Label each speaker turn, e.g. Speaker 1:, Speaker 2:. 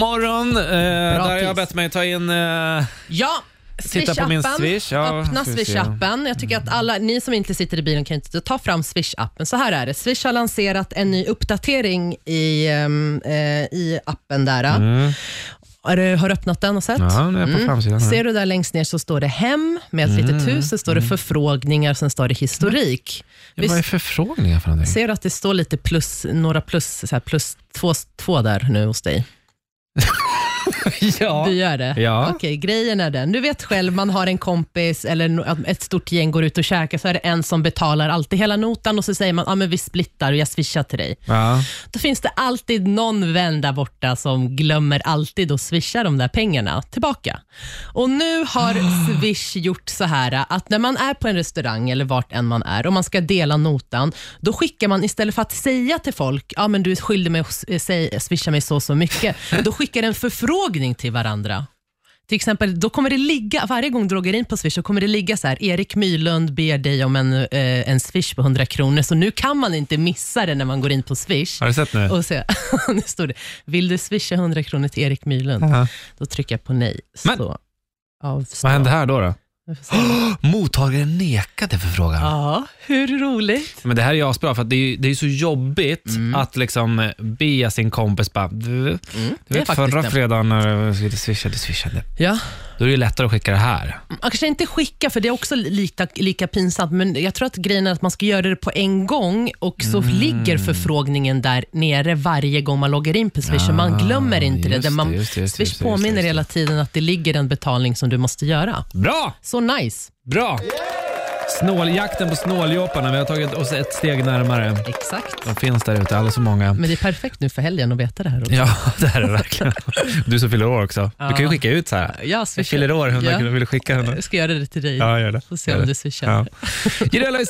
Speaker 1: God morgon! Eh, där har
Speaker 2: tips.
Speaker 1: jag bett mig ta in... Eh,
Speaker 2: Ja,
Speaker 1: Titta på min
Speaker 2: Swish-appen.
Speaker 1: Swish, ja,
Speaker 2: Öppna
Speaker 1: ska vi se. Mm.
Speaker 2: Swish-appen. Jag tycker att alla ni som inte sitter i bilen kan inte ta fram Swish-appen. Så här är det. Swish har lanserat en ny uppdatering i, ehm, eh, i appen där. Har du har du öppnat den och sett?
Speaker 1: Mm.
Speaker 2: Mm.
Speaker 1: ja, nu är jag på framsidan här. Mm.
Speaker 2: Ser du där längst ner så står det hem med ett litet hus, sen står det förfrågningar, sen står det historik.
Speaker 1: Ja, Vad är
Speaker 2: Visst,
Speaker 1: förfrågningar för någonting?
Speaker 2: ser du att det står lite plus, några plus, så här plus två, två där nu hos dig?
Speaker 1: ja.
Speaker 2: Du gör det?
Speaker 1: Ja.
Speaker 2: Okej, grejen är den. Du vet själv, man har en kompis eller no- att ett stort gäng går ut och käkar, så är det en som betalar alltid hela notan och så säger man ah, men vi splittar och jag swishar till dig.
Speaker 1: Ja.
Speaker 2: Då finns det alltid någon vän där borta som glömmer alltid att swisha de där pengarna tillbaka. Och nu har Swish gjort så här att när man är på en restaurang eller vart än man är och man ska dela notan, då skickar man istället för att säga till folk, ja men du är skyldig mig att s- eh, säg- swisha mig så och så mycket, då skickar en förfrågning till varandra. Till exempel, då kommer det ligga, varje gång du loggar in på Swish, så kommer det ligga så här, Erik Mylund ber dig om en, eh, en Swish på 100 kronor, så nu kan man inte missa det när man går in på Swish.
Speaker 1: Har du sett nu?
Speaker 2: Och så, nu står det, vill du swisha 100 kronor till Erik Mylund?
Speaker 1: Ja.
Speaker 2: Då trycker jag på nej.
Speaker 1: Men-
Speaker 2: så. avstå.
Speaker 1: Vad hände här då? då?
Speaker 2: Jag får se.
Speaker 1: Mottagaren nekade förfrågan.
Speaker 2: Ja, hur roligt?
Speaker 1: Men det här är ju asbra, för att det är ju det är ju så jobbigt
Speaker 2: Mm.
Speaker 1: att liksom eh, be sin kompis bara, du, du
Speaker 2: det är
Speaker 1: vet
Speaker 2: faktiskt
Speaker 1: förra
Speaker 2: det.
Speaker 1: fredagen när du skulle swisha, du swishade.
Speaker 2: Ja.
Speaker 1: Då är det ju lättare att skicka det här.
Speaker 2: Man kanske inte skicka, för det är också lika, lika pinsamt, men jag tror att grejen är att man ska göra det på en gång och så
Speaker 1: Mm.
Speaker 2: ligger förfrågningen där nere varje gång man loggar in på Swish. och man glömmer inte
Speaker 1: Ah,
Speaker 2: det.
Speaker 1: just
Speaker 2: Där man,
Speaker 1: det, just det, just det, just
Speaker 2: Swish
Speaker 1: det, just det,
Speaker 2: påminner
Speaker 1: just det.
Speaker 2: hela tiden att det ligger en betalning som du måste göra.
Speaker 1: Bra!
Speaker 2: Så nice.
Speaker 1: Bra! Snåljakten på snåljåparna, vi har tagit oss ett steg närmare.
Speaker 2: Exakt.
Speaker 1: De finns där ute, alldeles så många.
Speaker 2: Men det är perfekt nu för helgen att veta det här. också.
Speaker 1: Ja, det här är det verkligen. Du som fyller år också. Du kan ju
Speaker 2: Ja.
Speaker 1: skicka ut så här.
Speaker 2: Ja,
Speaker 1: Jag
Speaker 2: swishar.
Speaker 1: fyller år, 100
Speaker 2: Ja.
Speaker 1: kronor, vill du skicka henne?
Speaker 2: Jag ska göra det till dig.
Speaker 1: Ja, gör det.
Speaker 2: Får se
Speaker 1: Gör
Speaker 2: om
Speaker 1: det.
Speaker 2: du swishar.
Speaker 1: Ja. Gidella i